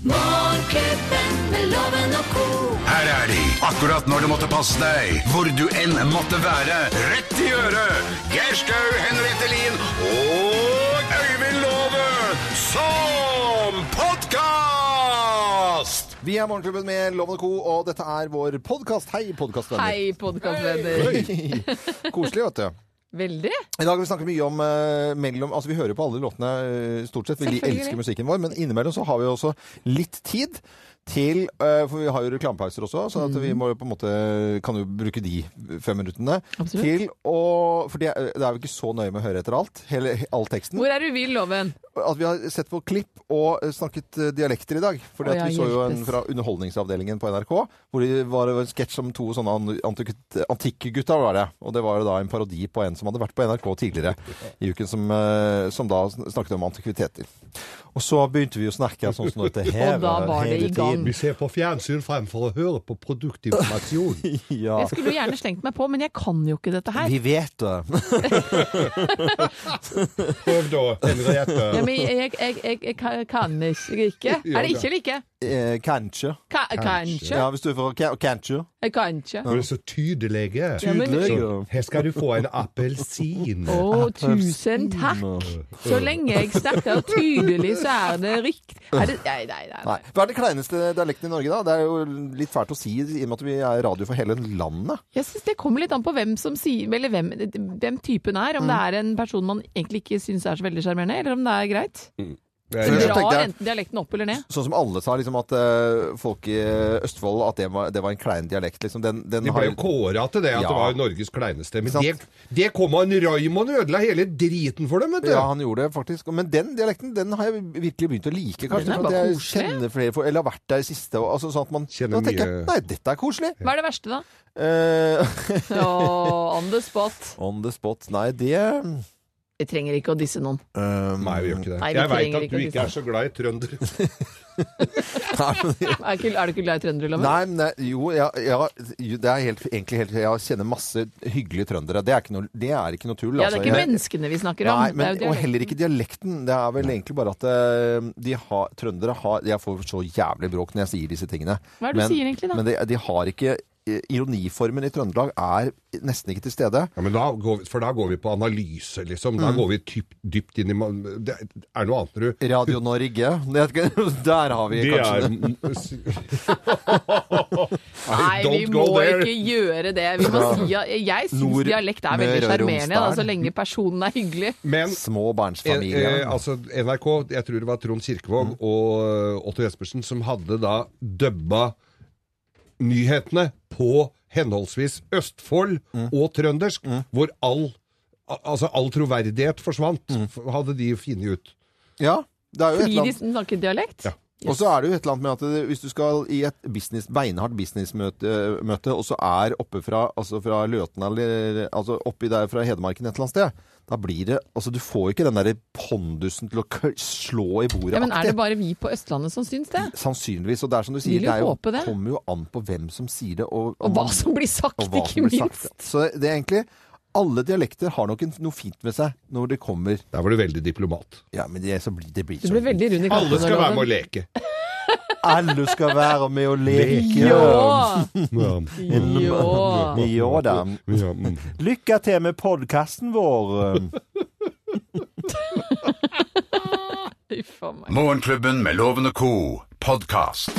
Morgenklubben med loven og ko. Her er de, akkurat når du måtte passe deg, hvor du enn måtte være. Rett i øret! Geir Skau, Henriette Lien og Øyvind Låve som podkast! Vi er Morgenklubben med Loven og Co, og dette er vår podkast. Hei, podkastvenner. Hei, podkastvenner. Koselig, vet du. Veldig. I dag har vi snakket mye om eh, mellom Altså, vi hører på alle låtene eh, stort sett. Vi Selvfølgelig. elsker musikken vår, men innimellom så har vi også litt tid til eh, For vi har jo reklamepauser også, så at Mm. vi må jo på en måte kan jo bruke de fem minuttene Absolutt. til å For det er det er jo ikke så nøye med å høre etter alt. Hele, all teksten. Hvor er du vill, Loven? At vi har sett på klipp og eh, snakket eh, dialekter i dag. Å, Fordi at ja, vi så jo en hjelpes. fra Underholdningsavdelingen på NRK, hvor det var en sketsj om to sånne an- antik- antikkgutta, var det. Og det var jo da en parodi på en som hadde vært på NRK tidligere i uken, som, eh, som da sn- snakket om antikviteter. Og så begynte vi å snakke sånn som dette hele, Og da var det i hele gang. Vi ser på fjernsyn fremfor å høre på produktinformasjon. tiden. Ja. Jeg skulle jo gjerne slengt meg på, men jeg kan jo ikke dette her. Vi vet det. Prøv da, Ja, Henriette. men jeg, jeg, jeg, jeg, jeg kan- kan ikke. ikke. Er det ikke eller ikke? Eh, Kanskje. Ka, kanskje. Eh, Ja, hvis du er fra Ka- Kanskje. Jeg kan ikke. Du er så tydelig. Ja, men- Tydelig. Her skal du få en appelsin. Å, tusen takk. Så lenge jeg snakker tydelig, så er det riktig. Er det, nei, nei, nei. nei. Nei. Hva er den kleineste dialekten i Norge, da? Det er jo litt fælt å si i og med at vi er radio for hele landet. Jeg syns det kommer litt an på hvem som sier Eller hvem, hvem typen er. Om det Mm. er en person man egentlig ikke syns er så veldig sjarmerende, eller om det er greit. Ellers så Dra tenkte jeg- enten dialekten opp eller ned. Sånn som alle sa, liksom at eh, folk i Østfold At det var, det var en klein dialekt, liksom. Den, den De har- ble jo kåra til det, at Ja. det var Norges kleineste. Men Sant. det, det kom han Raymond og ødela hele driten for dem, vet du. Ja, han gjorde det faktisk. Men den dialekten den har jeg virkelig begynt å like, kanskje. Den er for at bare jeg koselig. kjenner flere for, Eller har vært der i siste og, altså, sånn at man, Kjenner Da tenker jeg mye- nei, dette er koselig. Hva er det verste, da? Eh, Å, on the spot. on the spot. Nei, det Jeg trenger ikke å disse noen. um, Nei, vi gjør ikke det. Nei, vi jeg veit trenger at ikke du å ikke er så glad i trøndere. Er, ikke, er du ikke glad i trøndere, Loven? Nei, men det- jo, ja, ja, jo, det er helt, egentlig helt Jeg kjenner masse hyggelige trøndere. Det er ikke noe, det er ikke noe tull. Ja, det er altså. ikke Jeg- menneskene vi snakker om. Nei, det er men, jo og dialekten. heller ikke dialekten. Det er vel egentlig bare at eh, de har, trøndere har Jeg får så jævlig bråk når jeg sier disse tingene. Hva er det du sier egentlig, da? Men de, de har ikke eh, Ironiformen i Trøndelag er nesten ikke til stede. Ja, men da går vi, for da går vi på analyse, liksom. Da går vi typ, dypt inn i man- Det er noe annet når du Radio Norge det er ikke- Der har vi Det er kanskje Nei, vi må Don't go there. ikke gjøre det. Vi må si at jeg syns Nord- dialekt er veldig Møre og sjarmerende, da, Romsdal. så lenge personen er hyggelig. Men Eh, småbarnsfamilie. eh, altså NRK, jeg tror det var Trond Kirkevåg og eh, Otto Jespersen som hadde da dubba nyhetene på henholdsvis Østfold og trøndersk, hvor all, al- altså all troverdighet forsvant, f- hadde de funnet ut. Ja, det er jo et Fordi eller de annet. snakker dialekt. Ja. Og så er det jo et eller annet med at det- hvis du skal i et business, beinhardt businessmøte, eh, møte, og så er oppe fra, altså fra Løten eller altså oppi der fra Hedmarken et eller annet sted, da blir det Altså, du får ikke den derre pondusen til å kø- slå i bordet. Ja, men er aktig. det bare vi på Østlandet som syns det? Sannsynligvis. Og det er som du Vil sier, det, jo er jo, håpe det. kommer jo an på hvem som sier det, og, Og hva som blir sagt, Mm. og hva ikke som blir minst. sagt. Så det er egentlig alle dialekter har nok en, noe fint med seg når det kommer Der var du veldig diplomat. Ja, men det, så blir, det blir sånn. Du så ble veldig rund i Alle kanten. skal være med Loven. å leke. Alle skal være med og leke. Jo! Ja. Jo! Jo da. Ja, mm. Lykke til med podkasten vår. Uff a meg. Morgenklubben med Loven og Co. podkast.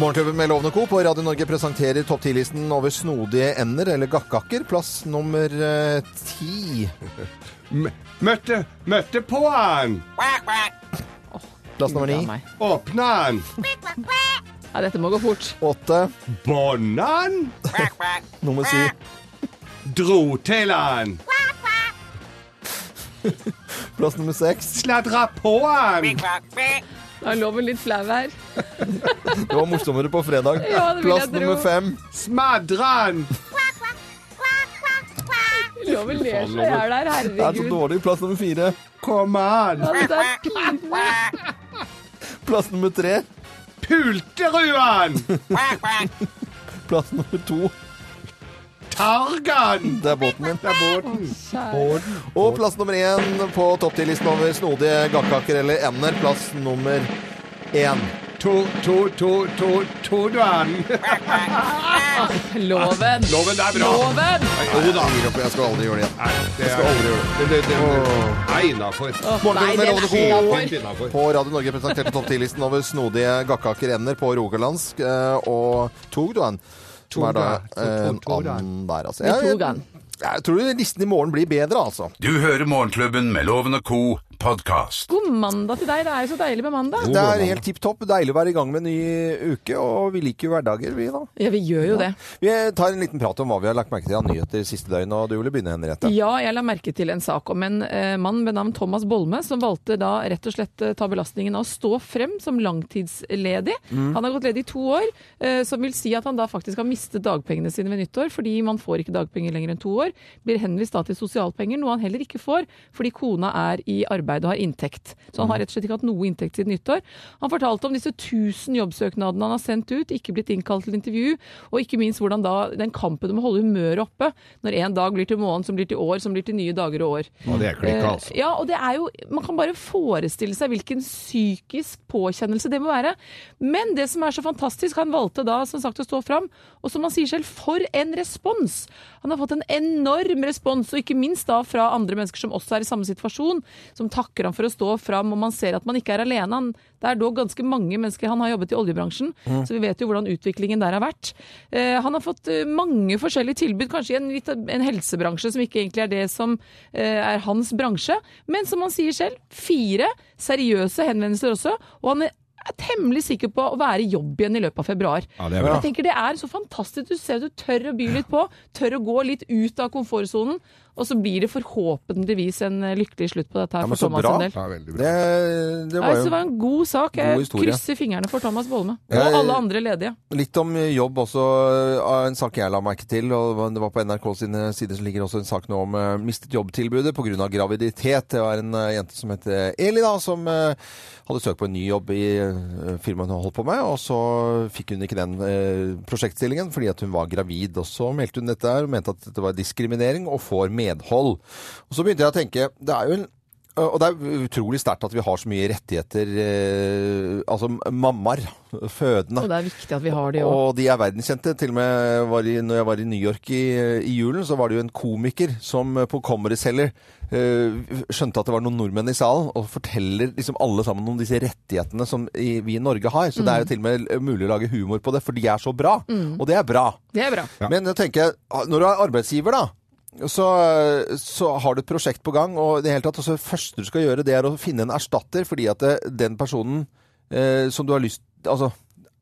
Morgenklubben med Lovende Co. på Radio Norge presenterer topp 10-listen over snodige ender, eller gakkakker. Plass nummer eh, ti. M- Møtte, møtte på han! Plass nummer Uff a ni. meg. Åpna han! Ja, dette må gå fort. Åtte. Bånda han! Nummer syv. Dro til han! Plass nummer seks. Sladra på han! Nå er loven litt flau her. Det var morsommere på fredag. Ja, det vil Plass jeg tro. nummer fem. Smadra han! Loven ler seg i hjel her, Det er så herregud. dårlig. Plass nummer fire. Kom an! Ja, det er pinlig. Plass nummer tre. Pulterud han! Plass nummer to. Targan! Det er båten min. Det er Bården. Bården. Og plass nummer én på topp 10-listen over snodige gakkaker eller ender. Plass nummer én. To, to, to, to, to, du er den. Loven! Loven, det er bra. Loven! Jo da. Jeg gir opp, jeg skal aldri gjøre det igjen. Nei, det skal aldri gjøre det. Det, det, det er innafor. Morgenklubben Nei, med den Lovende er Co. innafor. Helt innafor. På Radio Norge presenterte topp 10-listen over snodige gakkakerender på rogalandsk eh, og Togduan. Som er da eh, en Togduan. and der, altså. Med Jeg, jeg, Togduan. jeg tror listen i morgen blir bedre, altså. Du hører Morgenklubben med Loven og Co. podkast. God mandag til deg. Det er jo så deilig med mandag. Det er helt tipp topp. Deilig å være i gang med en ny uke, og vi liker jo hverdager, vi da. Ja, vi gjør jo det. Vi tar en liten prat om hva vi har lagt merke til av nyheter siste døgn, og du ville begynne, Henriette. Ja, jeg la merke til en sak om en eh, mann ved navn Thomas Bolme, som valgte da rett og slett eh, ta belastningen av å stå frem som langtidsledig. Han har gått ledig i to år, eh, som vil si at han da faktisk har mistet dagpengene sine ved nyttår, fordi man får ikke dagpenger lenger enn to år. Blir henvist da til sosialpenger, noe han heller ikke får, fordi kona er i arbeid og har inntekt. Så han har rett og slett ikke hatt noe inntekt siden nyttår. Han fortalte om disse 1000 jobbsøknadene han har sendt ut, ikke blitt innkalt til intervju, og ikke minst hvordan da den kampen om å holde humøret oppe når en dag blir til måneden, som blir til år, som blir til nye dager og år. Ja, det er klikka, altså. Eh, Ja, og det er jo Man kan bare forestille seg hvilken psykisk påkjennelse det må være. Men det som er så fantastisk, han valgte da som sagt å stå fram, og som han sier selv, for en respons! Han har fått en enorm respons, og ikke minst da fra andre mennesker som også er i samme situasjon, som takker ham for å stå fram, og man ser at man ikke er alene. Han, det er dog ganske mange mennesker Han har jobbet i oljebransjen, Mm. så vi vet jo hvordan utviklingen der har vært. Eh, han har fått eh, mange forskjellige tilbud, kanskje i en, litt, en helsebransje som ikke egentlig er det som eh, er hans bransje. Men som han sier selv, fire seriøse henvendelser også. Og han er temmelig sikker på å være i jobb igjen i løpet av februar. Ja, det er bra. Jeg tenker det er så fantastisk. Du ser at du tør å by litt på. Tør å gå litt ut av komfortsonen. Og så blir det forhåpentligvis en eh, lykkelig slutt på dette her men for så Thomas bra. sin del. Ja, veldig bra. Det, det Nei, var så det jo var en god sak. God Jeg historie. krysser fingrene for Thomas Bolme. Og Jeg- alle andre ledige. litt om jobb også, av en sak jeg la merke til. og Det var på NRK sine sider som ligger også en sak nå om eh, mistet jobbtilbudet pga. graviditet. Det var en eh, jente som het eh, Eli, da, som eh, hadde søkt på en ny jobb i eh, firmaet hun holdt på med. Og så fikk hun ikke den eh, prosjektstillingen fordi at hun var gravid. Og så meldte hun dette her og mente at dette var diskriminering, og får medhold. Og så begynte jeg å tenke, det er jo en eh, og det er utrolig sterkt at vi har så mye rettigheter, eh, altså mammaer, fødende. Og det er viktig at vi har de òg. Og de er verdenskjente. Til og med var i, når jeg var i New York i, i julen, så var det jo en komiker som på Comedy Cellar eh, skjønte at det var noen nordmenn i salen, og forteller liksom alle sammen om disse rettighetene som i, vi i Norge har. Så det er jo til og med mulig å lage humor på det, for de er så bra. Og det er bra. Det er bra. Men jeg tenker, når du er arbeidsgiver da, så, så har du et prosjekt på gang, og i det hele tatt, og så det første du skal gjøre, det er å finne en erstatter, fordi at eh, den personen eh, som du har lyst, altså,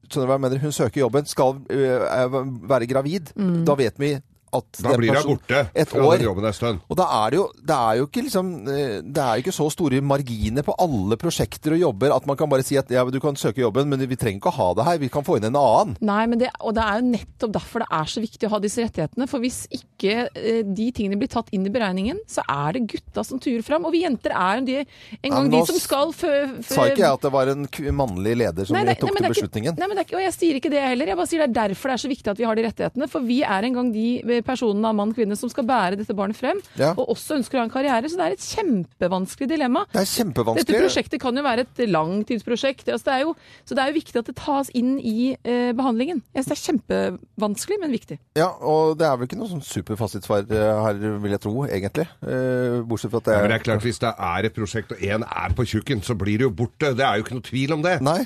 skjønner du hva jeg mener, hun søker jobben, skal eh, er- være gravid, da vet vi at Da den blir hun personen- borte Et fra den år. jobben en stund. Og da er det jo, det er jo ikke liksom, eh, det er jo ikke så store marginer på alle prosjekter og jobber at man kan bare si at ja, du kan søke jobben, men vi trenger ikke å ha det her, vi kan få inn en annen. Nei, men det, og det er jo nettopp derfor det er så viktig å ha disse rettighetene. For hvis ikke eh, de tingene blir tatt inn i beregningen, så er det gutta som turer fram. Og vi jenter er jo de, en gang men de nå som skal fø... fø- Sa ikke jeg at det var en kv- mannlig leder som Eh, Nei, nei, tok nei, men det til er ikke- beslutningen? Nei, men det er ikke, og jeg sier ikke det heller. Jeg bare sier det er derfor det er så viktig at vi har de rettighetene. For vi er en gang de eh, personene av mann og kvinne som skal bære dette barnet frem. Ja. Og også ønsker å ha en karriere. Så det er et kjempevanskelig dilemma. Det er kjempevanskelig. Dette prosjektet kan jo være et langtidsprosjekt. Altså det er jo, så det er jo viktig at det tas inn i eh, behandlingen. Jeg synes det er kjempevanskelig, men viktig. Ja, og det er vel ikke noe sånn superfasitsvar eh, her, vil jeg tro, egentlig. Eh, Bortsett fra at det Men det er klart, hvis det er et prosjekt og én er på tjukken, så blir det jo borte. Det er jo ikke noe tvil om det. Nei.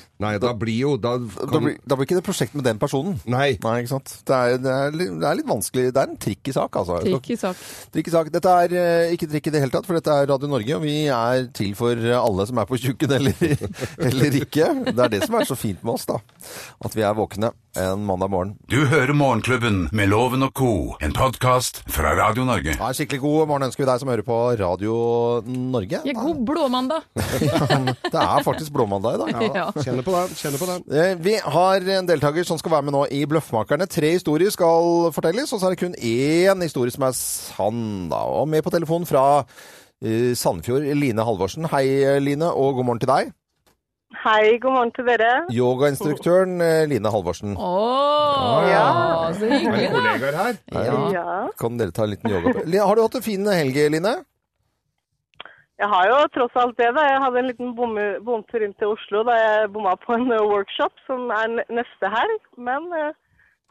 da blir jo da Da kan, blir, da blir ikke det prosjekt med den personen. Nei. Nei, ikke sant. Det er, det er, litt, det er litt vanskelig. Det er en trikk i sak, altså. Trikk i sak. Trikk i sak. Dette er eh, ikke trikk i det hele tatt, for dette er Radio Norge, og vi er til for eh, alle som er på tjukken eller, eller ikke. Det er det som er så fint med oss, da. At vi er våkne en mandag morgen. Du hører Morgenklubben med Loven og Co., en podkast fra Radio Norge. Ja, en skikkelig god morgen ønsker vi deg som hører på Radio Norge. Ja, god blåmandag! Det er faktisk blåmandag i dag. Ja. Kjenner på den, kjenner på den. Eh, Vi har en deltaker som skal være med nå i Bløffmakerne. Tre historier skal fortelles, og så er det kun én historie som er sann. da. Og med på telefonen fra eh, Sandefjord, Line Halvorsen. Hei, Line, og god morgen til deg. Hei, god morgen til dere. Yogainstruktøren eh, Line Halvorsen. Å, ja. Så hyggelig, Er det da. kollegaer her? Ja. Ja. Kan dere ta en liten yoga på? Li- Har du hatt en fin helg, Line? Jeg har jo tross alt det, da. Jeg hadde en liten bomme- bomtur inn til Oslo da jeg bomma på en eh, workshop som er n- neste helg. Men eh,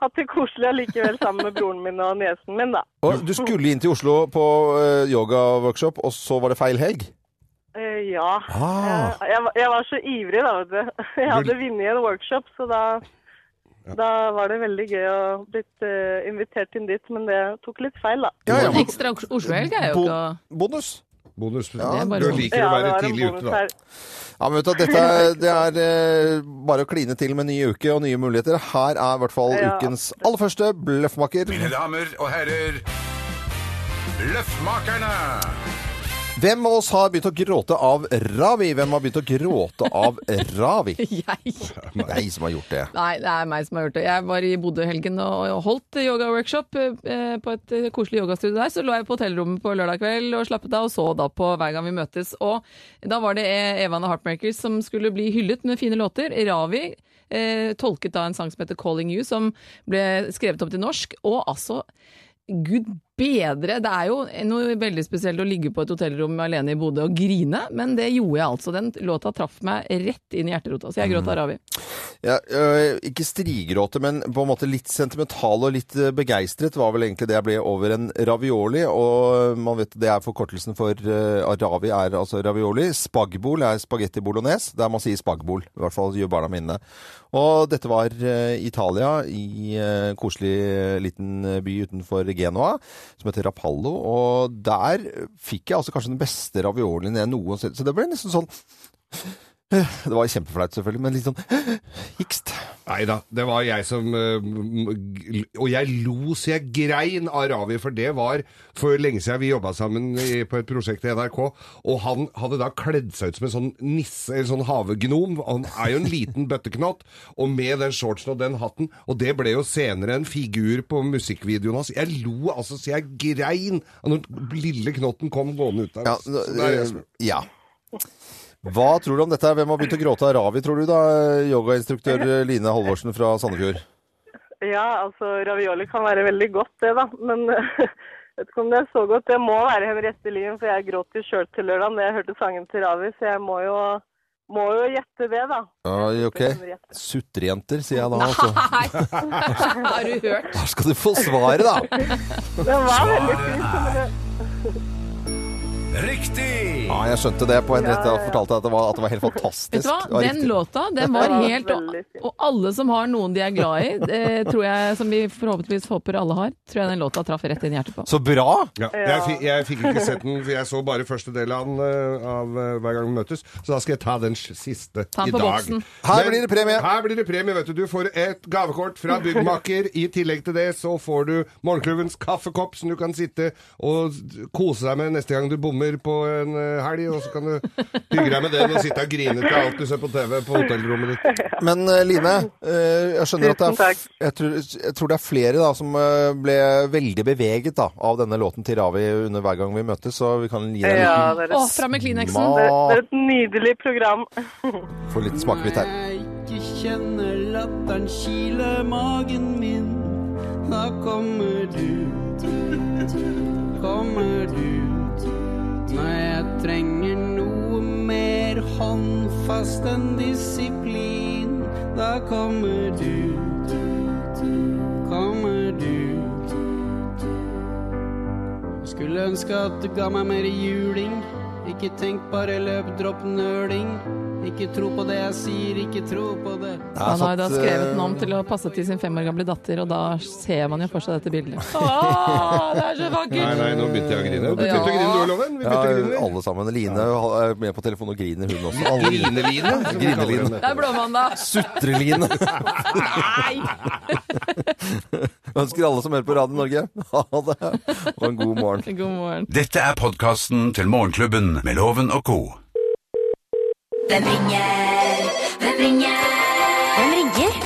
hatt det koselig allikevel sammen med broren min og niesen min, da. Og du skulle inn til Oslo på eh, yogaworkshop, og så var det feil helg? Eh, ja. Ah. Eh, Jeg, var- jeg var så ivrig, da, vet du. Jeg hadde vunnet en workshop, så da da var det veldig gøy å bli eh, invitert inn dit, men det tok litt feil, da. Ja, ja. En ekstra Oslo-helg er jo Bo- ikke å Bonus. Bonus. er bare du bonus. liker å være det var en tidlig ute, bonus da. her. Ja, men vet du, hva, dette er, det er eh, bare å kline til med ny uke og nye muligheter. Her er i hvert fall Ja. ukens aller første bløffmaker. Mine damer og herrer, Løffmakerne! Hvem av oss har begynt å gråte av Ravi? Hvem har begynt å gråte av Ravi? Jeg Nei, som har gjort det. Nei, det er meg som har gjort det. Jeg var i Bodø i helgen og holdt yoga-workshop eh, på et eh, koselig yogastudio der. Så lå jeg på hotellrommet på lørdag kveld og slappet av, og så da på Hver gang vi møtes. Og da var det eh, Evan og Heartmakers som skulle bli hyllet med fine låter. Ravi eh, tolket da en sang som heter 'Calling You', som ble skrevet om til norsk. Og altså Gud bedre! Det er jo noe veldig spesielt å ligge på et hotellrom alene i Bodø og grine, men det gjorde jeg altså. Den låta traff meg rett inn i hjerterota, så jeg gråt av Ravi. Ja, øh, ikke strigråte, men på en måte litt sentimental og litt øh, begeistret var vel egentlig det jeg ble over en ravioli. Og øh, man vet det er forkortelsen for øh, ravi er altså ravioli. Spagbol er spagetti bolognese, der man sier spagbol. I hvert fall gjør barna mine. Og dette var øh, Italia, i øh, koselig øh, liten øh, by utenfor Genoa, som heter Rapallo. Og der øh, fikk jeg altså kanskje den beste raviolien jeg noensinne Så det ble nesten sånn Det var kjempeflaut, selvfølgelig, men litt sånn hikst. Nei da, det var jeg som eh, m- g- Og jeg lo så jeg grein av Ravi, for det var for lenge siden vi jobba sammen i, på et prosjekt i NRK, og han hadde da kledd seg ut som en sånn nisse, eller sånn havegnom. Han er jo en liten bøtteknott, og med den shortsen og den hatten, og det ble jo senere en figur på musikkvideoen hans. Jeg lo altså så jeg grein av når den lille knotten kom gående ut der. Ja, eh, Så det eh, er jeg som- ja. Hva tror du om dette? her? Hvem har begynt å gråte av Ravi, tror du da? eh, Yogainstruktør Line Halvorsen fra Sandefjord. Ja, altså ravioli kan være veldig godt det, da. Men jeg vet ikke om det er så godt. Det må være Henriette Lien, for jeg gråt jo sjøl til lørdag da jeg hørte sangen til Ravi, så jeg må jo, må jo gjette det, da. Ja, ok. Sutrejenter, sier jeg da. Altså. Nei, har du hørt? Der skal du få svaret, da! Den var veldig fin. Svaret er Riktig! Ja, jeg skjønte det på Henriette og fortalte at det var, at det var helt fantastisk. Vet du hva? Det var Den riktig. låta, den var Ja, helt og, veldig fin. og alle som har noen de er glad i, det tror jeg, som vi forhåpentligvis håper alle har, tror jeg den låta traff rett inn i hjertet på. Så bra! Ja. Jeg, fi- jeg fikk ikke sett den, for jeg så bare første del av, den, eh, av eh, Hver gang vi møtes. Så da skal jeg ta den s- siste Ta den i på dag. boksen. Her blir det premie. Her blir det premie, vet du. Du får et gavekort fra byggmaker. I tillegg til det så får du morgenklubbens kaffekopp som du kan sitte og kose deg med neste gang du bommer på en eh, helg. Og så kan du hygge deg med den og sitte og grine til alt du ser på TV på hotellrommet ditt. Men eh, Line, eh, jeg skjønner at det Tusen er, takk. f- jeg tror, jeg tror det er flere da, som eh, ble veldig beveget da, av denne låten til Ravi under hver gang vi møtes, så vi kan gi deg en Ja, liten, det er, Å, et, fram med Kleenexen! det det ma er et nydelig program. få en liten smakebit her. Når jeg ikke kjenner latteren kile magen min, da kommer du. Kommer du. Når jeg trenger noe mer håndfast enn disiplin, da kommer du. Kommer du. Skulle ønske at du ga meg mer juling. Ikke tenk, bare løp, dropp nøling. Ikke tro på det jeg sier, ikke tro på det. Han har eh, jo da skrevet den om til å passe til sin fem år gamle datter, og da ser man jo for seg dette bildet. Å, det er så Nei, vakkert! nei, nå begynte jeg å grine. Du begynte å grine, du, Loven. Vi Ja, begynte å grine. alle sammen. Line er med på telefon og griner, hun også. Alle griner. Grineline. som vi kaller Grineline. henne. Det er blåmandag! Sutreline. Nei! Ønsker alle som hører på Radio Norge, ha det. Og en god morgen. God morgen. Dette er podkasten til Morgenklubben med Loven og co. Hvem ringer? Hvem ringer? Hvem ringer?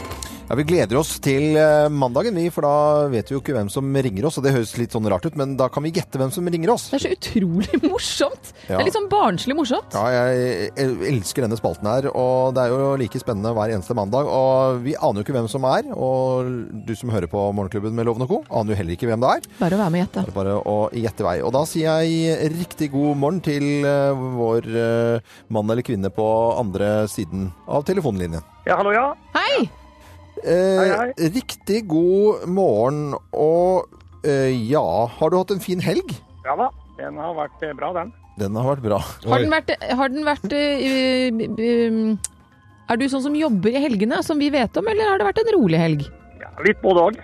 Ja, Vi gleder oss til eh, mandagen, vi, for da vet vi jo ikke hvem som ringer oss. Og det høres litt sånn rart ut, men da kan vi gjette hvem som ringer oss. Det er så utrolig morsomt. Det Ja. er litt sånn barnslig morsomt. Ja, jeg el- elsker denne spalten her, og det er jo like spennende hver eneste mandag. Og vi aner jo ikke hvem som er, og du som hører på Morgenklubben med Loven og Co, aner jo heller ikke hvem det er. Bare å være med og gjette. Det er bare å gjette vei. Og da sier jeg riktig god morgen til eh, vår eh, mann eller kvinne på andre siden av telefonlinjen. Ja, hallo, ja. Hei! Eh, Hei, hei. Riktig god morgen, og eh, ja, har du hatt en fin helg? Ja da, den har vært eh, bra, den. Den har vært bra. Har Oi. den vært, har den vært eh, um, um, Er du sånn som jobber i helgene, som vi vet om, eller har det vært en rolig helg? Ja, litt både òg.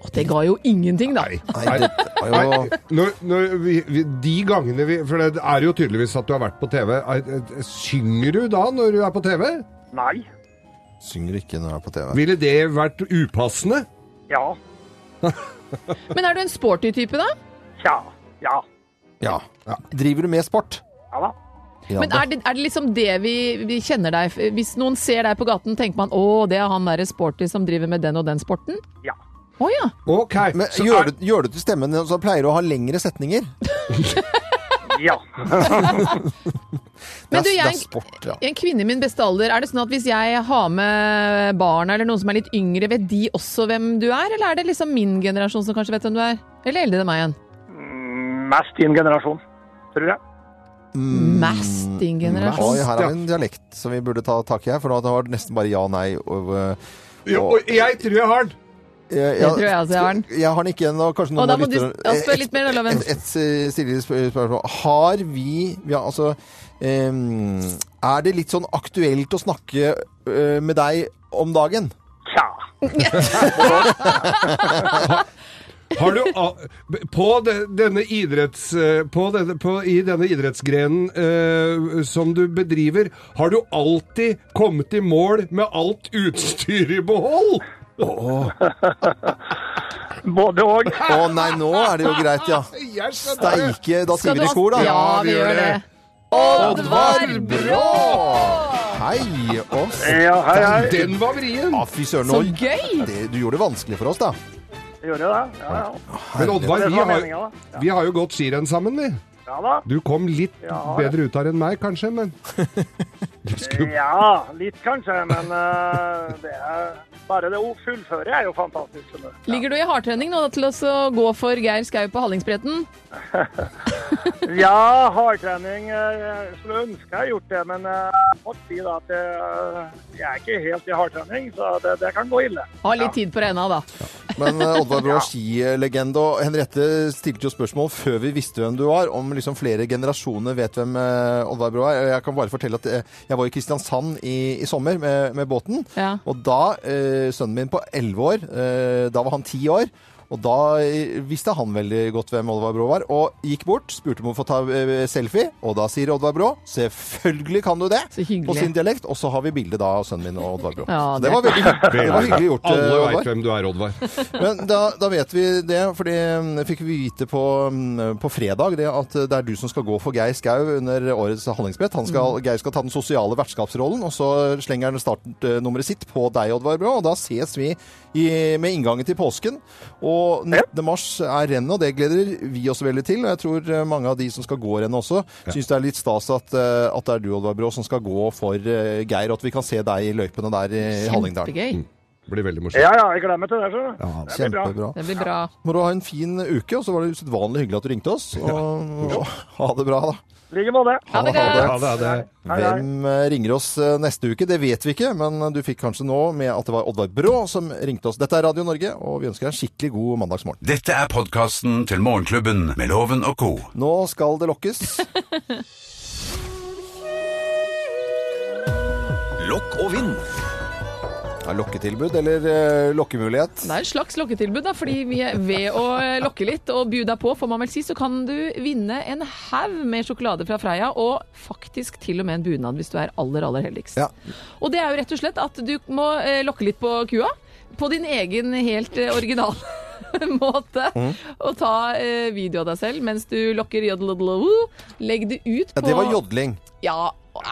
Å, det ga jo ingenting, da. Nei, det var Nei, jo når, når vi, vi, de gangene vi For det er jo tydeligvis at du har vært på TV. Er- er- Synger du da når du er på TV? Nei. Synger ikke når du er på TV. Ville det vært upassende? Ja. Men er du en sporty type, da? Tja. Ja. Ja. Driver du med sport? Ja da. Ja, Men er det, er det liksom det vi, vi kjenner deg f- Hvis noen ser deg på gaten, tenker man å, det er han derre sporty som driver med den og den sporten? Ja. Å ja. OK. Men så gjør, er- du, gjør du til stemmen din, så pleier du å ha lengre setninger? Ja. Det Men du, er, det er jeg, sport, ja. en kvinne i min beste alder, er det sånn at hvis jeg har med barna eller noen som er litt yngre, vet de også hvem du er? Eller er det liksom min generasjon som kanskje vet hvem du er? Eller eldre enn meg igjen? Mm, Mest din generasjon, tror jeg. Mest din Mm. Oi, generasjon. her er en dialekt som vi burde ta tak i her, for nå har det nesten bare ja og nei. Og, Jo, og jeg tror jeg har den. Det tror jeg også jeg har den. Jeg har den ikke ennå. Og Kanskje noen da av må du lytterne- ja, spørre Et- litt mer, da, Loven. Et, et, eh, stille sp- spørsmål. Har vi ja, altså, em, Er det litt sånn aktuelt å snakke eh, med deg om dagen? Tja. Har du a på de, denne idretts... eh, På denne, på, I denne idrettsgrenen eh, som du bedriver, har du alltid kommet i mål med alt utstyr i behold? Både òg. Å nei, nå er det jo greit, ja. Jeg skjønner det. Steike, da Skal sier vi det i du- kor, da. Ja, vi gjør det. Oddvar Brå! Hei og Ja, hei, hei. Den var vrien. Ja, fy søren. Så nå- gøy! Det- Du gjorde det vanskelig for oss, da. Gjør jeg det? Ja, ja. Men Oddvar, Det vi var har, meninga, da. vi har jo gått skirenn sammen, vi. Ja da. Du kom litt Ja, ja. bedre ut her enn meg, kanskje, men Du skulle Ja, litt kanskje, men eh, det er bare det å fullføre er jo fantastisk. skjønner du. Ligger du i hardtrening nå da, til å så gå for Geir Skau på Hallingsbretten? Ja, hardtrening eh, skulle ønske jeg gjort det, men eh, jeg må si da at jeg, jeg er ikke helt i hardtrening, så det, det kan gå ille. Ha litt tid på det ennå, da. Men eh, Oddvar Brå, skilegende. Og Henriette stilte jo spørsmål før vi visste hvem du var, om liksom flere generasjoner vet hvem eh, Oddvar Brå er. Jeg kan bare fortelle at eh, jeg var i Kristiansand i, i sommer med, med båten. Ja. Og da, eh, sønnen min på 11 år, eh, da var han 10 år. Og da eh, visste han veldig godt hvem Oddvar Brå var, og gikk bort, spurte om å få ta eh, selfie, og da sier Oddvar Brå selvfølgelig kan du det, Så hyggelig. på sin dialekt, og så har vi bildet da av sønnen min og Oddvar Brå. Ja, Så det- det var veldig, det var hyggelig gjort, eh, Alle Oddvar. veit hvem du er, Oddvar. Men da, da vet vi det, for det fikk vi vite på, mm, på fredag det at eh, det er du som skal gå for Geir Skau under årets handlingsbrett. Han skal, Geir skal ta den sosiale vertskapsrollen, og så slenger han startnummeret sitt på deg, Oddvar Brå, og da ses vi i, med inngangen til påsken. Og 19. mars er rennet, og det gleder vi oss veldig til. Og jeg tror eh, mange av de som skal gå rennet også, syns det er litt stas at, eh, at det er du, Oddvar Brå, som skal gå for eh, Geir, og at vi kan se deg i løypene der i Hallingdal. Kjempegøy. Det blir veldig morsomt. Ja, ja, jeg gleder meg til det. skjønner du. Ja, det blir bra. Kjempebra. Det blir bra. Må du ha en fin uke, og så var det usedvanlig hyggelig at du ringte oss. Og, og ha det bra, da. I like måte. Ha det godt! Ja, det er det. Hei, hei. Hvem eh, ringer oss eh, neste uke? Det vet vi ikke, men du fikk kanskje nå med at det var Oddvar Brå som ringte oss. Dette er Radio Norge, og vi ønsker deg en skikkelig god mandagsmorgen. Dette er podkasten til Morgenklubben med Loven og co. Nå skal det lokkes. Lokk og vinn. Ja, lokketilbud eller eh, lokkemulighet. Det er en slags lokketilbud, da, fordi vi er ved å eh, lokke litt og by deg på, får man vel si, så kan du vinne en haug med sjokolade fra Freia, og faktisk til og med en bunad hvis du er aller, aller heldigst. Ja. Og det er jo rett og slett at du må eh, lokke litt på kua, på din egen helt eh, original måte, Mm. og ta eh, video av deg selv mens du lokker jodel, legg det ut på Ja, det var jodling. Ja,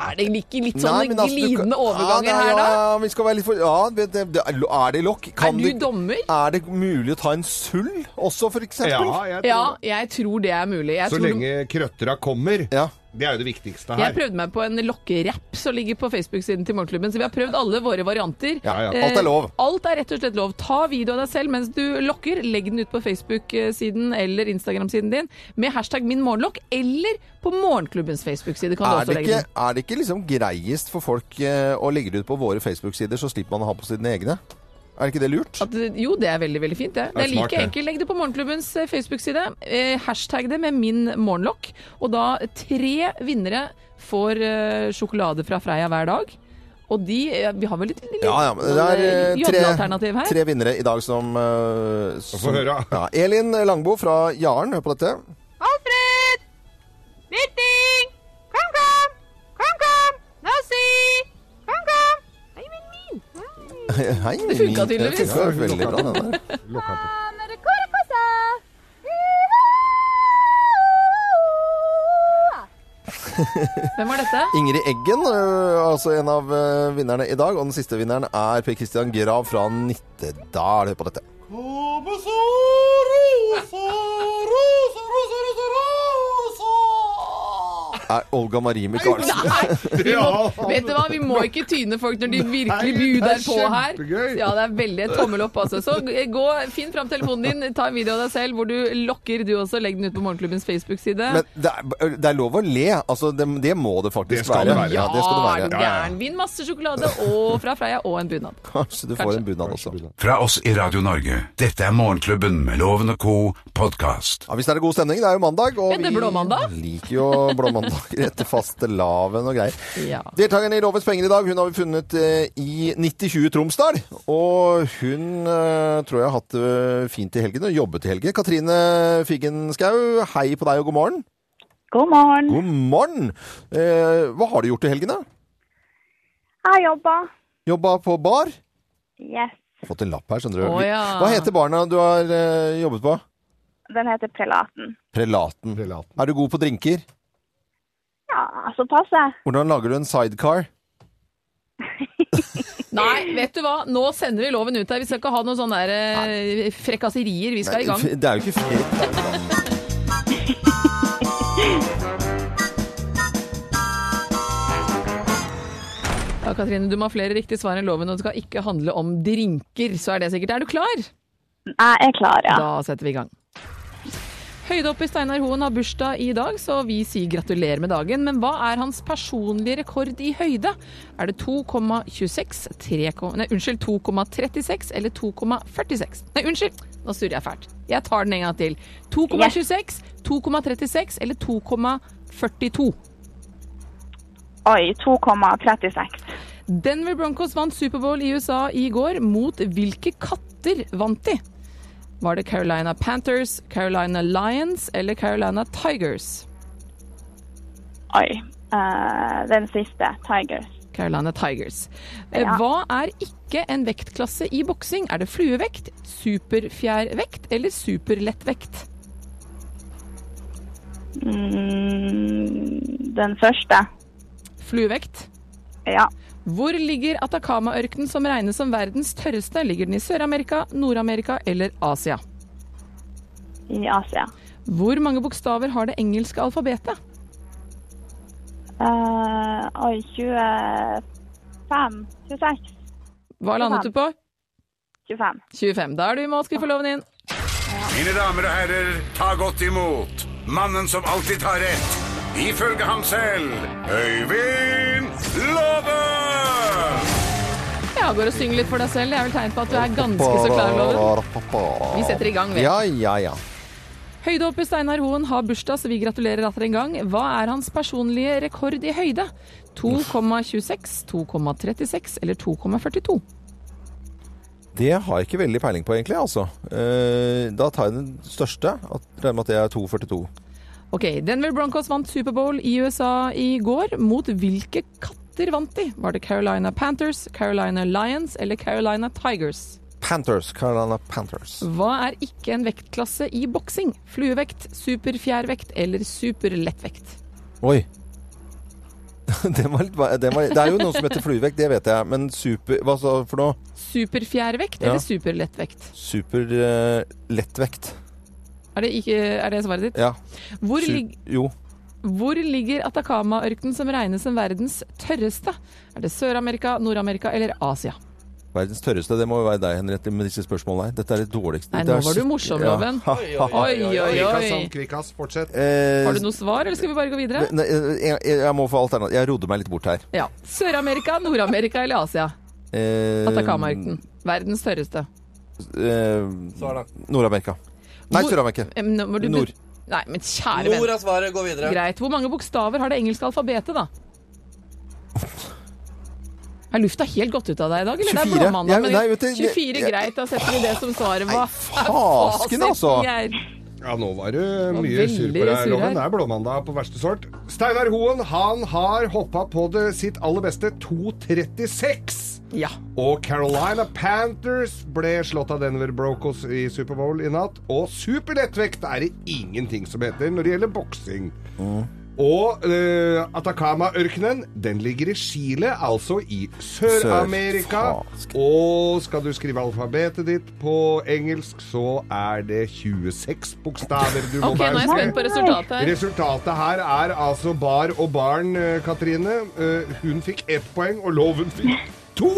Er det ikke litt sånn men altså, du kan- glidende overganger ja, nei, her, da? Ja, ja, vi skal være litt for... Ja, det, det, det, er det lokk? Kan Er du dommer? Er det mulig å ta en sull også, for eksempel? Ja, jeg tror Ja, det. jeg tror det er mulig. Jeg, Så tror lenge krøttera kommer. Ja. Det er jo det viktigste jeg her. prøvde meg på en lokkerapp som ligger på Facebook-siden til Morgenklubben, så vi har prøvd alle våre varianter. Ja, ja. Alt er lov. Eh, Alt er rett og slett lov. Ta video av deg selv mens du lokker. Legg den ut på Facebook-siden eller Instagram-siden din med hashtag min morgenlokk, eller på Morgenklubbens Facebook-side kan du Er også det, legge ikke, den. er det ikke liksom greiest for folk eh, å legge det ut på våre Facebook-sider, så slipper man å ha på sine egne? Er ikke det lurt? At, jo, det er veldig veldig fint. Det. er Det er smart, like det. enkelt. Legg det på Morgenklubbens eh, Facebook-side. Eh, hashtag det med 'min morgenlokk'. Og da tre vinnere får eh, sjokolade fra Freia hver dag. Og de eh, Vi har vel litt Ja, ja, men det er eh, tre, jobbealternativ her. tre vinnere i dag som, eh, som høre. Ja, Elin Langbo fra Jaren, hør på dette. Alfred! Meeting! Kom, kom! Kom, kom! Nassi! Kom, kom! Hei, min min! Hei, Det funka min- tydeligvis. Det funka veldig bra, den der. Amere kore kosa! Hvem var dette? Ingrid Eggen, øh, altså en av øh, vinnerne i dag. Og den siste vinneren er Per Christian Grav fra Nittedal. Hør på dette. Er Olga Marie Michaelsen. Vet du hva, vi må ikke tyne folk når de virkelig Nei, det er buder på her. kjempegøy. Ja, det er veldig et tommel opp, altså. Så gå, finn fram telefonen din, ta en video av deg selv hvor du lokker du også, legg den ut på Morgenklubbens Facebook-side. Men det er, det er lov å le. Altså, det, det må det faktisk Det skal det være. være. Ah, Ja, det skal det er du være. gæren. Vinn masse sjokolade og fra Freia og en bunad. Kanskje du får en bunad også. Fra oss i Radio Norge. Dette er Morgenklubben med Loven og co. podkast. Ja, Hvis det er god stemning. Det er jo mandag. Og Er det blåmandag? vi liker jo blåmandager etter fastelavn og greier. Ja. Deltakerne i Lovens penger i dag hun har vi funnet eh, i 9020 Tromsdal. Og hun eh, tror jeg har hatt det fint i helgen og jobbet i helgen. Katrine Figgenskau, hei på deg og god morgen. God morgen. God morgen! Eh, hva har du gjort i helgen, da? Jeg jobber. Jobba på bar? Yes. Fått en lapp her, skjønner du. Å, ja. Hva heter barna du har eh, jobbet på? Den heter Prelaten. Prelaten. Prelaten. Er du god på drinker? Ja, så passer. Hvordan lager du en sidecar? Nei, vet du hva, nå sender vi loven ut her. Vi skal ikke ha noen sånne der, eh, frekkaserier. Vi skal i gang. Det er jo ikke fint. Ja, Katrine, du må ha flere riktige svar enn loven, og det skal ikke handle om drinker. Så er det sikkert. Er du klar? Jeg er klar, ja. Da setter vi i gang. Høydehopp i Steinar Hoen har bursdag i dag, så vi sier gratulerer med dagen. Men hva er hans personlige rekord i høyde? Er det 2,26, 3, kom- nei, unnskyld, 2,36 eller 2,46? Nei, unnskyld, nå surrer jeg fælt. Jeg tar den en gang til. 2,26, 2,36 eller 2,42? Oi, 2,36. Denver Broncos vant Superbowl i USA i går. Mot hvilke katter vant de? Var det Carolina Panthers, Carolina Lions eller Carolina Tigers? Oi. Eh, den siste, Tigers. Carolina Tigers. Eh, Ja. Hva er ikke en vektklasse i boksing? Er det fluevekt, superfjærvekt eller superlettvekt? Mm, den første. Fluevekt. Ja. Hvor ligger Atacama-ørkenen som regnes som verdens tørreste? Ligger den i Sør-Amerika, Nord-Amerika eller Asia? I Asia. Hvor mange bokstaver har det engelske alfabetet? Eh, oi, 25 26. Hva landet du på? 25. 25. Da er du i mål, skal vi få loven inn. Mine damer og herrer, ta godt imot mannen som alltid tar rett. Ifølge ham selv Øyvind Låve! Ja, går og synger litt for deg selv. Det er vel tegn på at du er ganske så klar, Loven. Vi setter i gang, vi. Ja, ja, ja. Høydehopper Steinar Hoen har bursdag, så vi gratulerer atter en gang. Hva er hans personlige rekord i høyde? 2,26, 2,36 eller 2,42? Det har jeg ikke veldig peiling på, egentlig. altså. Eh, da tar jeg den største. at- Regner med at det er 2,42. Ok, Denver Broncos vant Superbowl i USA i går. Mot hvilke katter vant de? Var det Carolina Panthers, Carolina Lions eller Carolina Tigers? Panthers. Carolina Panthers. Hva er ikke en vektklasse i boksing? Fluevekt, superfjærvekt eller superlettvekt? Oi. det, var litt, det, var, det er jo noe som heter fluevekt, det vet jeg. Men super Hva sa du for noe? Superfjærvekt Ja. eller superlettvekt? eh, Superlettvekt. Er det, ikke, er det svaret ditt? ja. Hvor, Su- lig, jo. hvor ligger Atacama-ørkenen som regnes som verdens tørreste? Er det Sør-Amerika, Nord-Amerika eller Asia? Verdens tørreste. Det må jo være deg, Henriette, med disse spørsmålene her. Dette er det dårligste. Nei, Det er nå var du skikke- morsom, ja. Loven. Ha, ha, ha. Oi, oi, Kvikkas, oi. han, Kvikkas, fortsett. Eh, Har du noe svar, eller skal vi bare gå videre? Nei, jeg, jeg jeg må få alternativ. Jeg rodde meg litt bort her. Ja. Sør-Amerika, Nord-Amerika eller Asia? Eh, Atacama-ørkenen. Verdens tørreste. Eh, Nord-Amerika. Nei, Hvor- Sør-Amerika. Em, nå må du- Nord. Nei, men kjære venn. Nord er svaret. Gå videre. Greit. Hvor mange bokstaver har det engelske alfabetet, da? Er lufta helt gått ut av deg i dag, eller? Det er 24. blåmandag, Ja, men nei, vet du, det- 24, jeg- greit. Da setter vi det som svaret. Hva er Fasken, fasiten, altså! Geir? Ja, nå var du var mye veldig sur på deg, sur her. Loven. Det er blåmandag på verste sort. Steinar Hoen, han har hoppa på det sitt aller beste 2.36. Ja. Og Carolina Panthers ble slått av Denver Broncos i Superbowl i natt. Og superlettvekt er det ingenting som heter når det gjelder boksing. Og eh, Atacama-ørkenen, den ligger i Chile, altså i Sør-Amerika. Sør, fask. Og skal du skrive alfabetet ditt på engelsk, så er det 26 bokstaver du må Ok, nå er jeg bære. spent på resultatet her. Resultatet her er altså bar og barn, eh, Katrine. Eh, Hun fikk ett poeng, og Loven fikk to!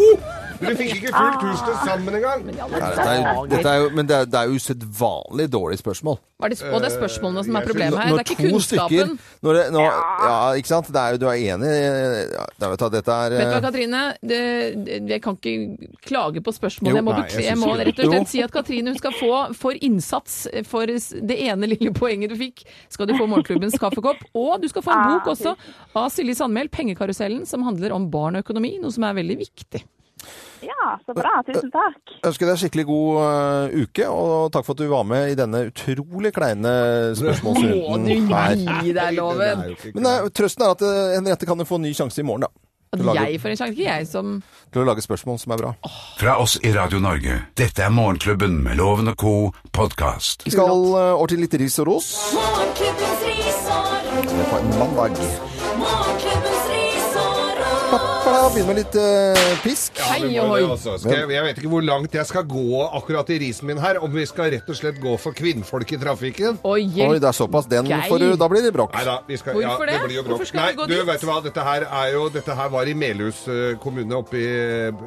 Dere fikk ikke fullt hus til sammen engang. Nei, dette er, jo- dette er jo, men det er, det er jo usedvanlig dårlige spørsmål. Var det, og det er spørsmålene som jeg er problemet her. Det er ikke to kunnskapen. når det, når, ja, ikke sant? Det er jo, du er enig ja, da vet du, at Dette er Vet du hva, eh, Katrine? Det, det, jeg kan ikke klage på Jo, spørsmålet. Jeg må, nei, bekle- jeg jeg synes må ikke det. rett og Jo. slett si at Katrine hun skal få for innsats for det ene lille poenget du fikk, skal du få Morgenklubbens kaffekopp. Og du skal få en bok også av Silje Sandmæl, 'Pengekarusellen', som handler om barn og økonomi, noe som er veldig viktig. Ja, så bra. Tusen takk. ønsker deg skikkelig god eh, uke, og takk for at du var med i denne utrolig kleine Må spørsmålsrunden du her. gi deg loven! Men eh, trøsten er at eh, Henriette kan jo få en ny sjanse i morgen, da. At jeg får en sjanse, ikke jeg som Til å lage spørsmål som er bra. Fra oss i Radio Norge. Dette er Morgenklubben med Loven og co. podkast. Vi skal eh, over til litt ris og ros. Morgenklubbens ris og ros. Det er på en mandag. Morgenklubbens ris og ros. Da begynner vi med litt eh, pisk. Hei Vi og må det hoi! også. altså, Skal jeg, jeg vet ikke hvor langt jeg skal gå akkurat i risen min her. Om vi skal rett og slett gå for kvinnfolk i trafikken. Og Oi, det hjelp! er såpass. Den Geir. får du, da blir det bråk. Nei da, vi skal, Hvorfor ja, det det? blir jo Hvorfor bråk. skal Nei, vi gå du dit? vet du hva, dette her er jo Dette her var i Melhus eh, kommune oppe i,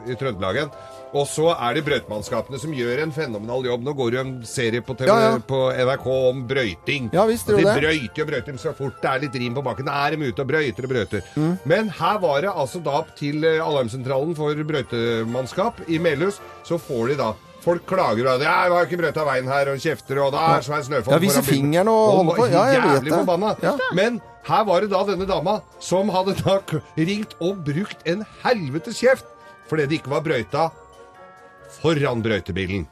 i Trøndelagen. Og så er det brøytemannskapene som gjør en fenomenal jobb. Nå går det jo en serie på, TV, Ja, ja. på NRK om brøyting. Ja, visst Og de gjør det. brøyter og brøyter så fort det er litt rim på bakken. Da er de ute og brøyter og brøyter. Mm. Men her var det altså da opp til eh, alarmsentralen for brøytemannskap i Melhus, så får de da Folk klager og det. Ja, 'Jeg har ikke brøyta veien her', og kjefter, og da er det svær snøfall. Ja, viser foran bilen. fingeren og holder på. Ja, jeg vet jævlig det. forbanna. Ja. Men her var det da denne dama som hadde da k- ringt og brukt en helvetes kjeft fordi det ikke var brøyta foran brøytebilen.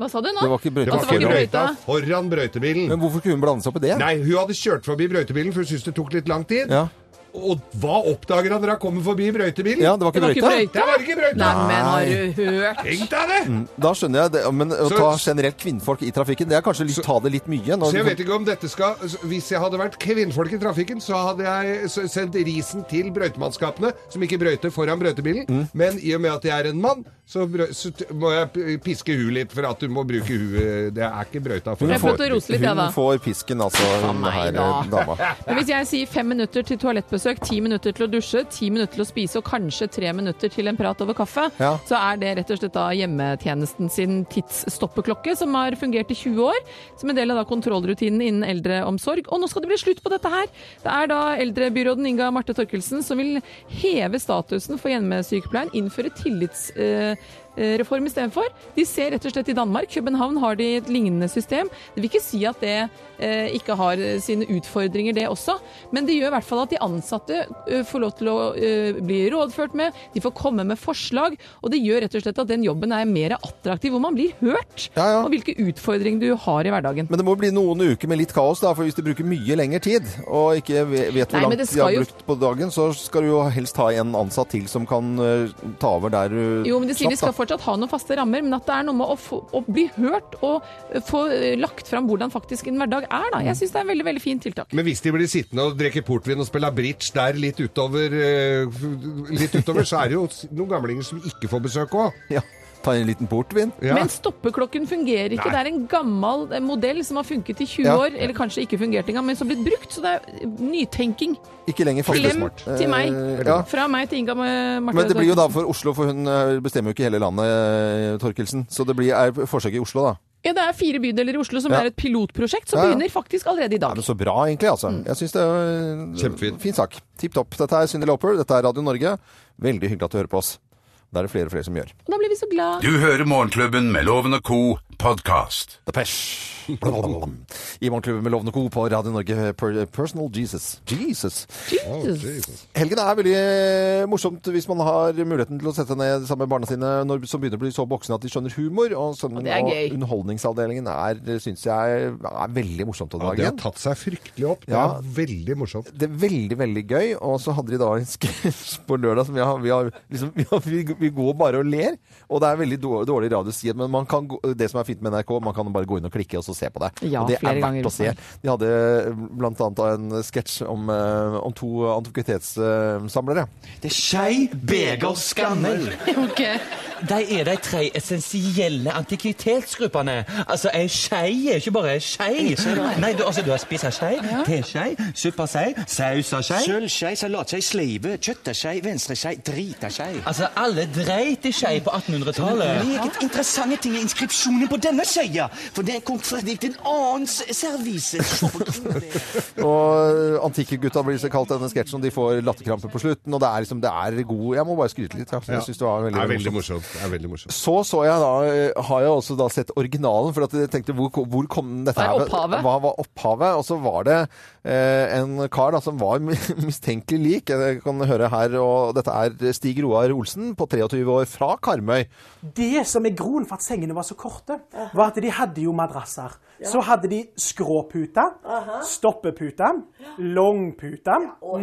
Hva sa du nå? Det var ikke brøyta. Altså, At det Det var var ikke ikke brøyta brøyta. foran brøytebilen. Men hvorfor skulle hun blande seg opp i det? Nei, hun hadde kjørt forbi brøytebilen, for hun syntes det tok litt lang tid. Ja. Og hva oppdager han når han kommer forbi brøytebilen? ja, det var Det var ikke ikke brøyta. Der var det ikke brøyta! Neimen, har du hørt? Tenk deg det! Da skjønner jeg det, men å Så- ta generelt kvinnfolk i trafikken, det er kanskje litt, ta det litt mye. Når, Så jeg vet ikke om dette skal Hvis jeg hadde vært kvinnfolk i trafikken, så hadde jeg s- sendt risen til brøytemannskapene, som ikke brøyter foran brøytebilen. Men i og med at jeg er en mann, så, brø så t- må jeg p- piske huet litt for at du må bruke huet Det er ikke brøyta Hun foran. Jeg prøvde å brøytebilen. rose litt, jeg, da. Hun får pisken, altså, hun meg, her da. eh, dama. Men hvis jeg sier fem minutter til toalettbesøk, ti minutter til å dusje, ti minutter til å spise og kanskje tre minutter til en prat over kaffe, Ja. så er det rett og slett da hjemmetjenesten sin tidsstoppeklokke, som har fungert i 20 år, som en del av da kontrollrutinen innen eldreomsorg. Og nå skal det bli slutt på dette her! Det er da eldrebyråden Inga Marte Torkelsen som vil heve statusen for hjemmesykepleien, innføre tillits... eh, eh, reform istedenfor. De ser rett og slett i Danmark. København har de et lignende system. Det vil ikke si at det eh, ikke har eh, sine utfordringer, det også, men det gjør i hvert fall at de ansatte eh, får lov til å eh, bli rådført med, de får komme med forslag, og det gjør rett og slett at den jobben er mer attraktiv, hvor man blir hørt, Ja, ja. og hvilke utfordringer du har i hverdagen. Men det må bli noen uker med litt kaos, da, for hvis du bruker mye lengre tid, og ikke ve- vet hvor Nei, men langt det de har skal jo- brukt på dagen, så skal du jo helst ha en ansatt til som kan eh, ta over der du Jo, men de sier slapp, vi skal da. fortsatt ha noen faste rammer, men at det er noe med å, få, å bli hørt og eh, få eh, lagt fram hvordan faktisk en hverdag er, da. Jeg syns det er en veldig, veldig fint tiltak. Men hvis de blir sittende og drikke portvin og spille bridge der litt utover, eh, f- litt utover så er det jo s- noen gamlinger som ikke får besøk òg. Ja, ta en liten portvin. Ja. Men stoppeklokken fungerer ikke. Det er en gammel eh, modell som har funket i 20 Ja. år, eller kanskje ikke fungert engang, men som har blitt brukt. Så det er eh, nytenking. Ikke lenger faktisk. Klem smart. til meg. Eh, ja. Fra meg til Inga eh, Marte. Men det blir jo da for Oslo, for hun eh, bestemmer jo ikke hele landet, eh, Torkelsen. Så det blir, er forsøk i Oslo, da. Ja, det er fire bydeler i Oslo som Ja. er et pilotprosjekt som Ja, ja. begynner faktisk allerede i Er dag. det så bra, egentlig? altså? Mm. Jeg syns det er en Kjempefint. fin sak. Tipp topp. Dette er Cindy Lauper, dette er Radio Norge. Veldig hyggelig at du hører på oss. Det er det flere og flere som gjør. Og da blir vi så glad. Du hører Morgenklubben med Loven og Co. podkast. Depeche. I Morgenklubben med Lovende Co. på Radio Norge per Personal Jesus. Jesus. Oh, Jesus. Helgen er veldig eh, morsomt hvis man har muligheten til å sette ned sammen med barna sine når, som begynner å bli så voksne at de skjønner humor. Og, sånn, det er og gøy. Underholdningsavdelingen er, syns jeg, er veldig morsomt om Ja, det har dagen. tatt seg fryktelig opp. Det Ja. er veldig morsomt. det er veldig, veldig gøy. Og så hadde de da en sketsj på lørdag som vi har, vi har liksom vi, har, vi- vi går bare og ler. Og det er veldig dårlig, dårlig radio å si det, men man kan, gå- det som er fint med NRK, man kan bare gå inn og klikke og så se på det. Ja, og det flere er ganger verdt å se. også. De hadde blant annet da en sketsj om, eh, om to antikvitetssamlere. Det er skei, beger, skanner. Ok. De er de tre essensielle antikvitetsgruppene. Altså, ei skei er ikke bare ei skei. Nei, du, altså, du har spisa skei, teskei, supperskei, sausa skei. Sølvskei, salatskei, sleive, kjøtteskei, venstreskei, dritaskei. Altså, alle dreit i skei på 1800-tallet. Meget interessante ting i inskripsjonen på denne skeia, for det er kontradikt en annen s- servise. Se på kronene. Og antikkegutta blir så kalt denne sketsjen, og de får latterkrampe på slutten. Og det er liksom, det er god Jeg må bare skryte litt. Ja. Jeg synes det var veldig, Det er morsomt. veldig morsomt. Det er veldig morsomt. Så så jeg da, eh, har jeg også da sett originalen, for at jeg tenkte hvor, hvor kom dette Hva er her? opphavet? Hva var opphavet? Og så var det eh, en kar da, som var mistenkelig lik. Jeg kan høre her, og dette er Stig Roar Olsen på 23 år fra Karmøy. Det som er groen for at sengene var så korte, var at de hadde jo madrasser. Så hadde de skråpute, stoppepute, langpute,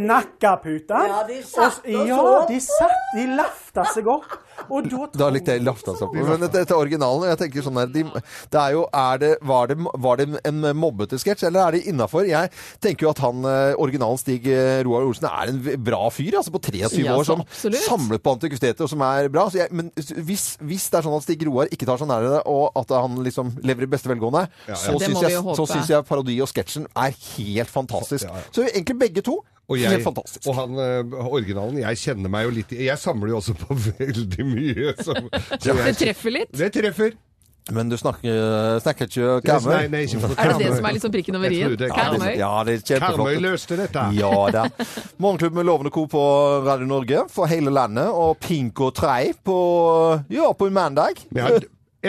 nakkapute. Ja, de satt og s- oss opp. Ja, de satt, de lafta seg opp. Og da Da likte jeg lafta seg opp. Men dette, dette er originalen, og jeg tenker sånn her de, Det er jo er det, var, det, var det en mobbete sketsj, eller er det innafor? Jeg tenker jo at han eh, originalen Stig eh, Roar Olsen er en v- bra fyr, altså, på 23 Ja, år, så som absolutt. samler på antikviteter, og som er bra. Så jeg, men hvis, hvis det er sånn at Stig Roar ikke tar seg nær av det, og at han liksom lever i beste velgående, så Det må syns vi jeg, jo så håpe. syns jeg parodi og sketsjen er helt fantastisk. Ja, ja. Så egentlig begge to. Og, jeg, helt fantastisk. og han eh, originalen Jeg kjenner meg jo litt i- Jeg samler jo også på veldig mye. Så, så Det jeg, treffer litt. det treffer. Men du snakker, eh, snakker ikke Nei, Karmøy? nei, ikke for Er det det Karmøy. som er liksom prikken over Jeg tror i-en? det er Ja, Karmøy? det- Ja, det er Karmøy kjempeflott. løste dette. Ja da. Morgenklubben med Lovende Co på Radio Norge for hele landet, og Pink og Trei på, ja, på en mandag. Vi har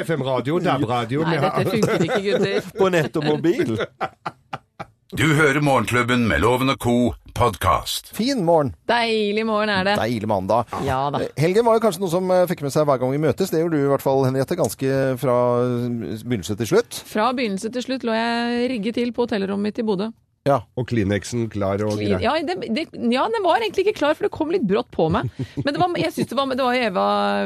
FM-radio, DAB-radio Nei, vi har- dette funker ikke, gutter. På nett og mobil. Du hører Morgenklubben med Loven og Co. podkast. Fin morgen. Deilig morgen er det. Deilig mandag. Ja da. Helgen var jo kanskje noe som eh, fikk med seg hver gang vi møtes. Det gjorde du i hvert fall, Henriette, ganske fra begynnelse til slutt. Fra begynnelse til slutt lå jeg rigget til på hotellrommet mitt i Bodø. Og Kleenexen klar og grei. Ja, det, det, ja, den var egentlig ikke klar, for det kom litt brått på meg. Men det var, jeg synes det var, det var jo Eva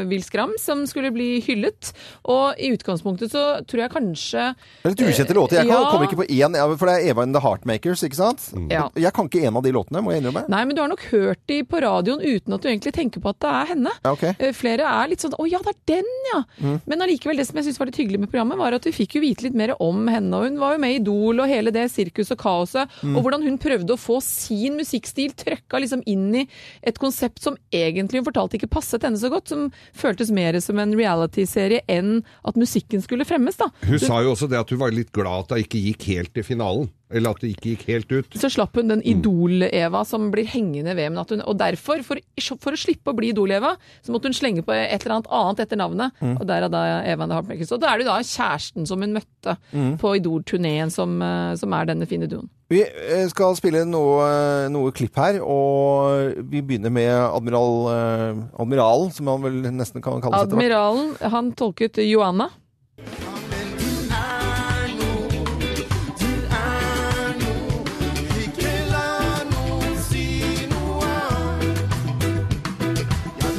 Wilskram som skulle bli hyllet. Og i utgangspunktet så tror jeg kanskje Det er litt ukjente låter. Jeg kan, Ja. kommer ikke på én, ja, for det er Eva and The Heartmakers, ikke sant? Ja. Jeg kan ikke en av de låtene, må jeg innrømme. Nei, men du har nok hørt de på radioen uten at du egentlig tenker på at det er henne. Ja, ok. Mm. Eh, Flere er litt sånn 'å ja, det er den, ja'. Men allikevel, det som jeg syns var litt hyggelig med programmet, var at vi fikk jo vite litt mer om henne. Og hun var jo med i Idol og hele det sirkuset og kaoset. Mm. Og hvordan hun prøvde å få sin musikkstil trøkka liksom inn i et konsept som egentlig hun fortalte ikke passet henne så godt. Som føltes mer som en reality-serie enn at musikken skulle fremmes, da. Hun sa jo også det at hun var litt glad at det ikke gikk helt til finalen. Eller at det ikke gikk helt ut. så slapp hun den Idol-Eva som blir hengende ved. Men at hun, og derfor, for, for å slippe å bli Idol-Eva, så måtte hun slenge på et eller annet annet etter navnet. Og der er da Eva and the Heartbreakers. Og da er det da kjæresten som hun møtte på Idol-turneen, som, eh, som er denne fine duoen. Vi eh, skal spille noe, eh, noe klipp her, og vi begynner med admiral, eh, admiralen, som han vel nesten kan kalles etter hvert. Admiralen, han tolket Joanna.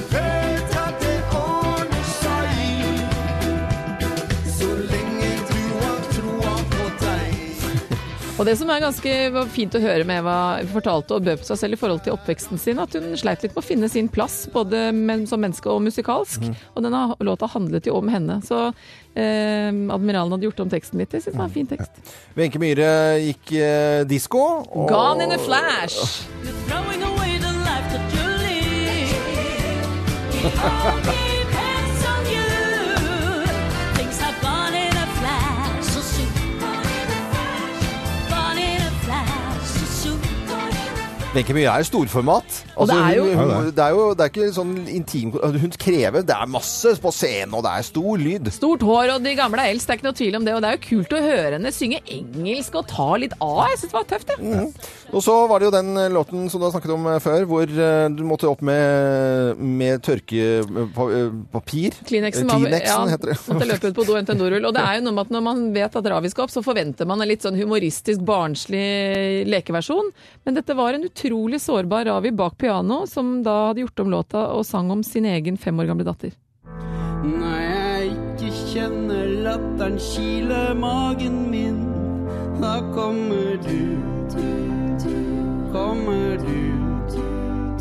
Vet at det ordner seg Og det som er ganske var fint å høre med Eva fortalte og bød på seg selv i forhold til oppveksten sin, at hun sleit litt med å finne sin plass, både men, som menneske og musikalsk. Mhm. Og denne låta handlet jo om henne. Så eh, Admiralen hadde gjort om teksten litt. Jeg syns det var en fin tekst. Wenche Myhre gikk eh, disko. og- Gone in a flash! Throwing away the life that you lead. All depends on you. Things have gone in a flash, so soon. Gone in a flash. Gone in a flash, so soon. Gone in a Wenche Myhre er storformat. Og Altså, det er jo- hun, Ja, hun, det er jo det er ikke sånn intim Hun krever Det er masse på scenen, og det er stor lyd. Stort hår og de gamle er eldst, det er ikke noe tvil om det. Og det er jo kult å høre henne synge engelsk og ta litt av. Jeg syns det var tøft, jeg. Og så var det jo den eh, låten som du har snakket om eh, før, hvor eh, du måtte opp med, med tørkepapir. Eh, Kleenexen, var- ja, heter det. måtte løpe ut på do og hente en dorull. Og det er jo noe med at når man vet at Ravi skal opp, så forventer man en litt sånn humoristisk, barnslig lekeversjon. Men dette var en utrolig sårbar Ravi bak piano, som da hadde gjort om låta og sang om sin egen fem år gamle datter. Når jeg ikke kjenner latteren kile magen min, da kommer du. Kommer du.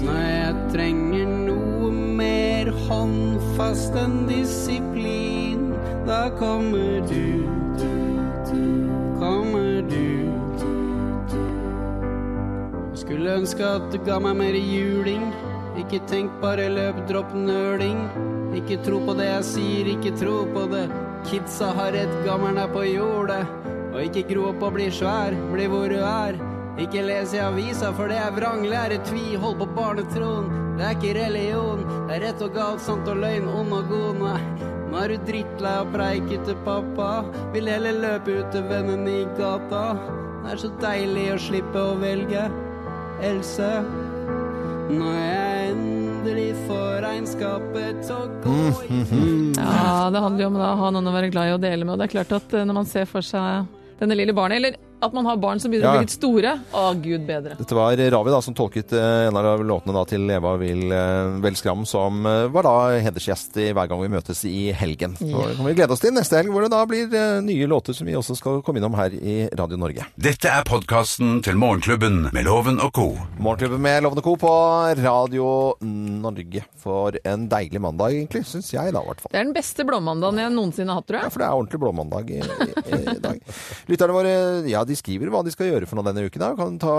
Når jeg trenger noe mer håndfast enn disiplin, da kommer du. Kommer du. Skulle ønske at du ga meg mer juling. Ikke tenk, bare løp, dropp nøling. Ikke tro på det jeg sier, ikke tro på det. Kidsa har rett, gammelen er på jordet. Og ikke gro opp og bli svær, bli hvor du er. Ikke les i avisa, for det er vranglære, tvihold på barnetroen. Det er ikke religion, det er rett og galt, sant og løgn, ond og god, nei. Nå er du drittlei av preik til pappa, vil heller løpe ut til vennene i gata. Det er så deilig å slippe å velge. Else, når jeg endelig får regnskapet til å Mm. Ja, det handler jo om da å ha noen å være glad i og dele med. Og det er klart at eh, når man ser for seg denne lille barnet, eller at man har barn som begynner å Ja. bli litt store, å gud bedre. Dette var Ravi da, som tolket eh, en av låtene da, til Eva Vil eh, Velskram, som eh, var da hedersgjest i Hver gang vi møtes i helgen. Så Ja. det kan vi glede oss til neste helg, hvor det da blir eh, nye låter som vi også skal komme innom her i Radio Norge. Dette er podkasten til Morgenklubben med Loven og co. Morgenklubben med Lovende Co. på Radio Norge for en deilig mandag, egentlig, syns jeg da, i hvert fall. Det er den beste blåmandagen jeg noensinne har hatt, tror Ja, jeg. for det er ordentlig blåmandag i, i, i dag. Lytterne våre ja, de skriver hva de skal gjøre for noe denne uken. Da. Kan ta,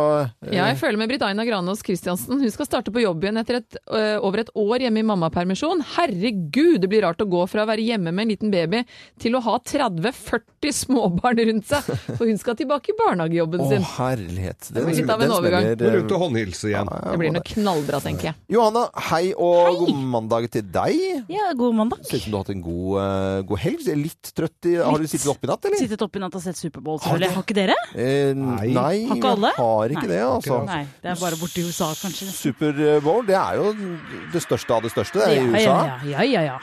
eh, Ja, jeg føler med Britt Aina Granås Christiansen. Hun skal starte på jobb igjen etter et, ø, over et år hjemme i mammapermisjon. Herregud, det blir rart å gå fra å være hjemme med en liten baby til å ha 30-40 småbarn rundt seg. For hun skal tilbake i barnehagejobben Å, sin. herlighet. Det blir litt av en overgang. eh, Rundt og håndhilse igjen. Det blir nok knallbra, tenker jeg. Johanna, hei og god mandag til deg. Ja, god mandag. Ser ut som du har hatt en god, eh, god helg. Du er Litt trøtt. I, har du sittet oppe i natt, eller? Sittet oppe i natt og sett Superbowl, Har du selvfølgelig. det? Har ikke dere? Eh, nei, Har ikke alle? jeg har ikke Nei. det, altså. Nei, det er bare borti USA, kanskje. Super Bowl, det er jo det største av det største det er i Ja, USA. ja, ja, ja, ja.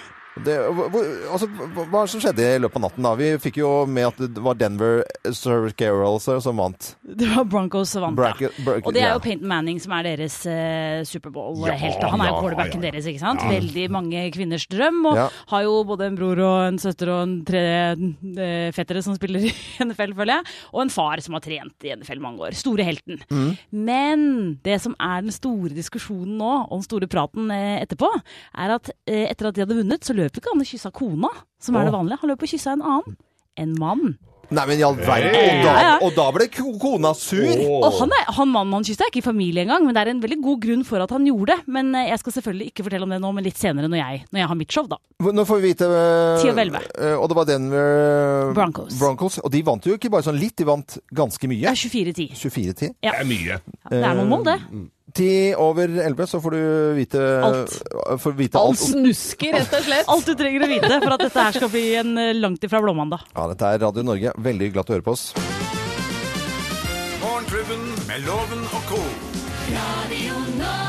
Det, hvor, hvor- altså, hva hva er det som skjedde i løpet av natten? da? Vi fikk jo med at det var Denver eh, Surcarals som vant. Det var Broncos som vant, Bracket- bracket- Og det er jo ja. Peyton Manning som er deres eh, Superbowl-helt. Ja, Han er jo ja, quarterbacken ja, ja. deres, ikke sant. Ja. Veldig mange kvinners drøm. Og Ja. har jo både en bror og en søster og en tre eh, fettere som spiller i NFL, føler jeg. Og en far som har trent i NFL mange år. Store helten. Mm. Mhm. Men det som er den store diskusjonen nå, og den store praten eh, etterpå, er at eh, etter at de hadde vunnet, så løp ikke han og kyssa kona, som Åh. er det vanlige. Han løp og kyssa en annen. En mann. Nei, men i all verden! Hey. Og, da- Ja, ja. og da ble ko- kona sur! Og han, er, han mannen han kysset er ikke i familie engang, men det er en veldig god grunn for at han gjorde det. Men eh, jeg skal selvfølgelig ikke fortelle om det nå, men litt senere når jeg, når jeg har mitt show, da. Nå får vi vite eh, 10 og 11. eh, Og det var Denver Broncos. Og de vant jo ikke bare sånn litt, de vant ganske mye. 24-10. 24-10. Ja. Det er mye. det er noen mål, det. Ti over elleve, så får du vite eh, Alt. Får vite alt. snusker, rett og slett. Alt du trenger å vite for at dette her skal bli en eh, langt ifra blåmandag. Ja, dette er Radio Norge. Veldig glad til å høre på oss. Morgenklubben med Loven og co. flash. Gone in a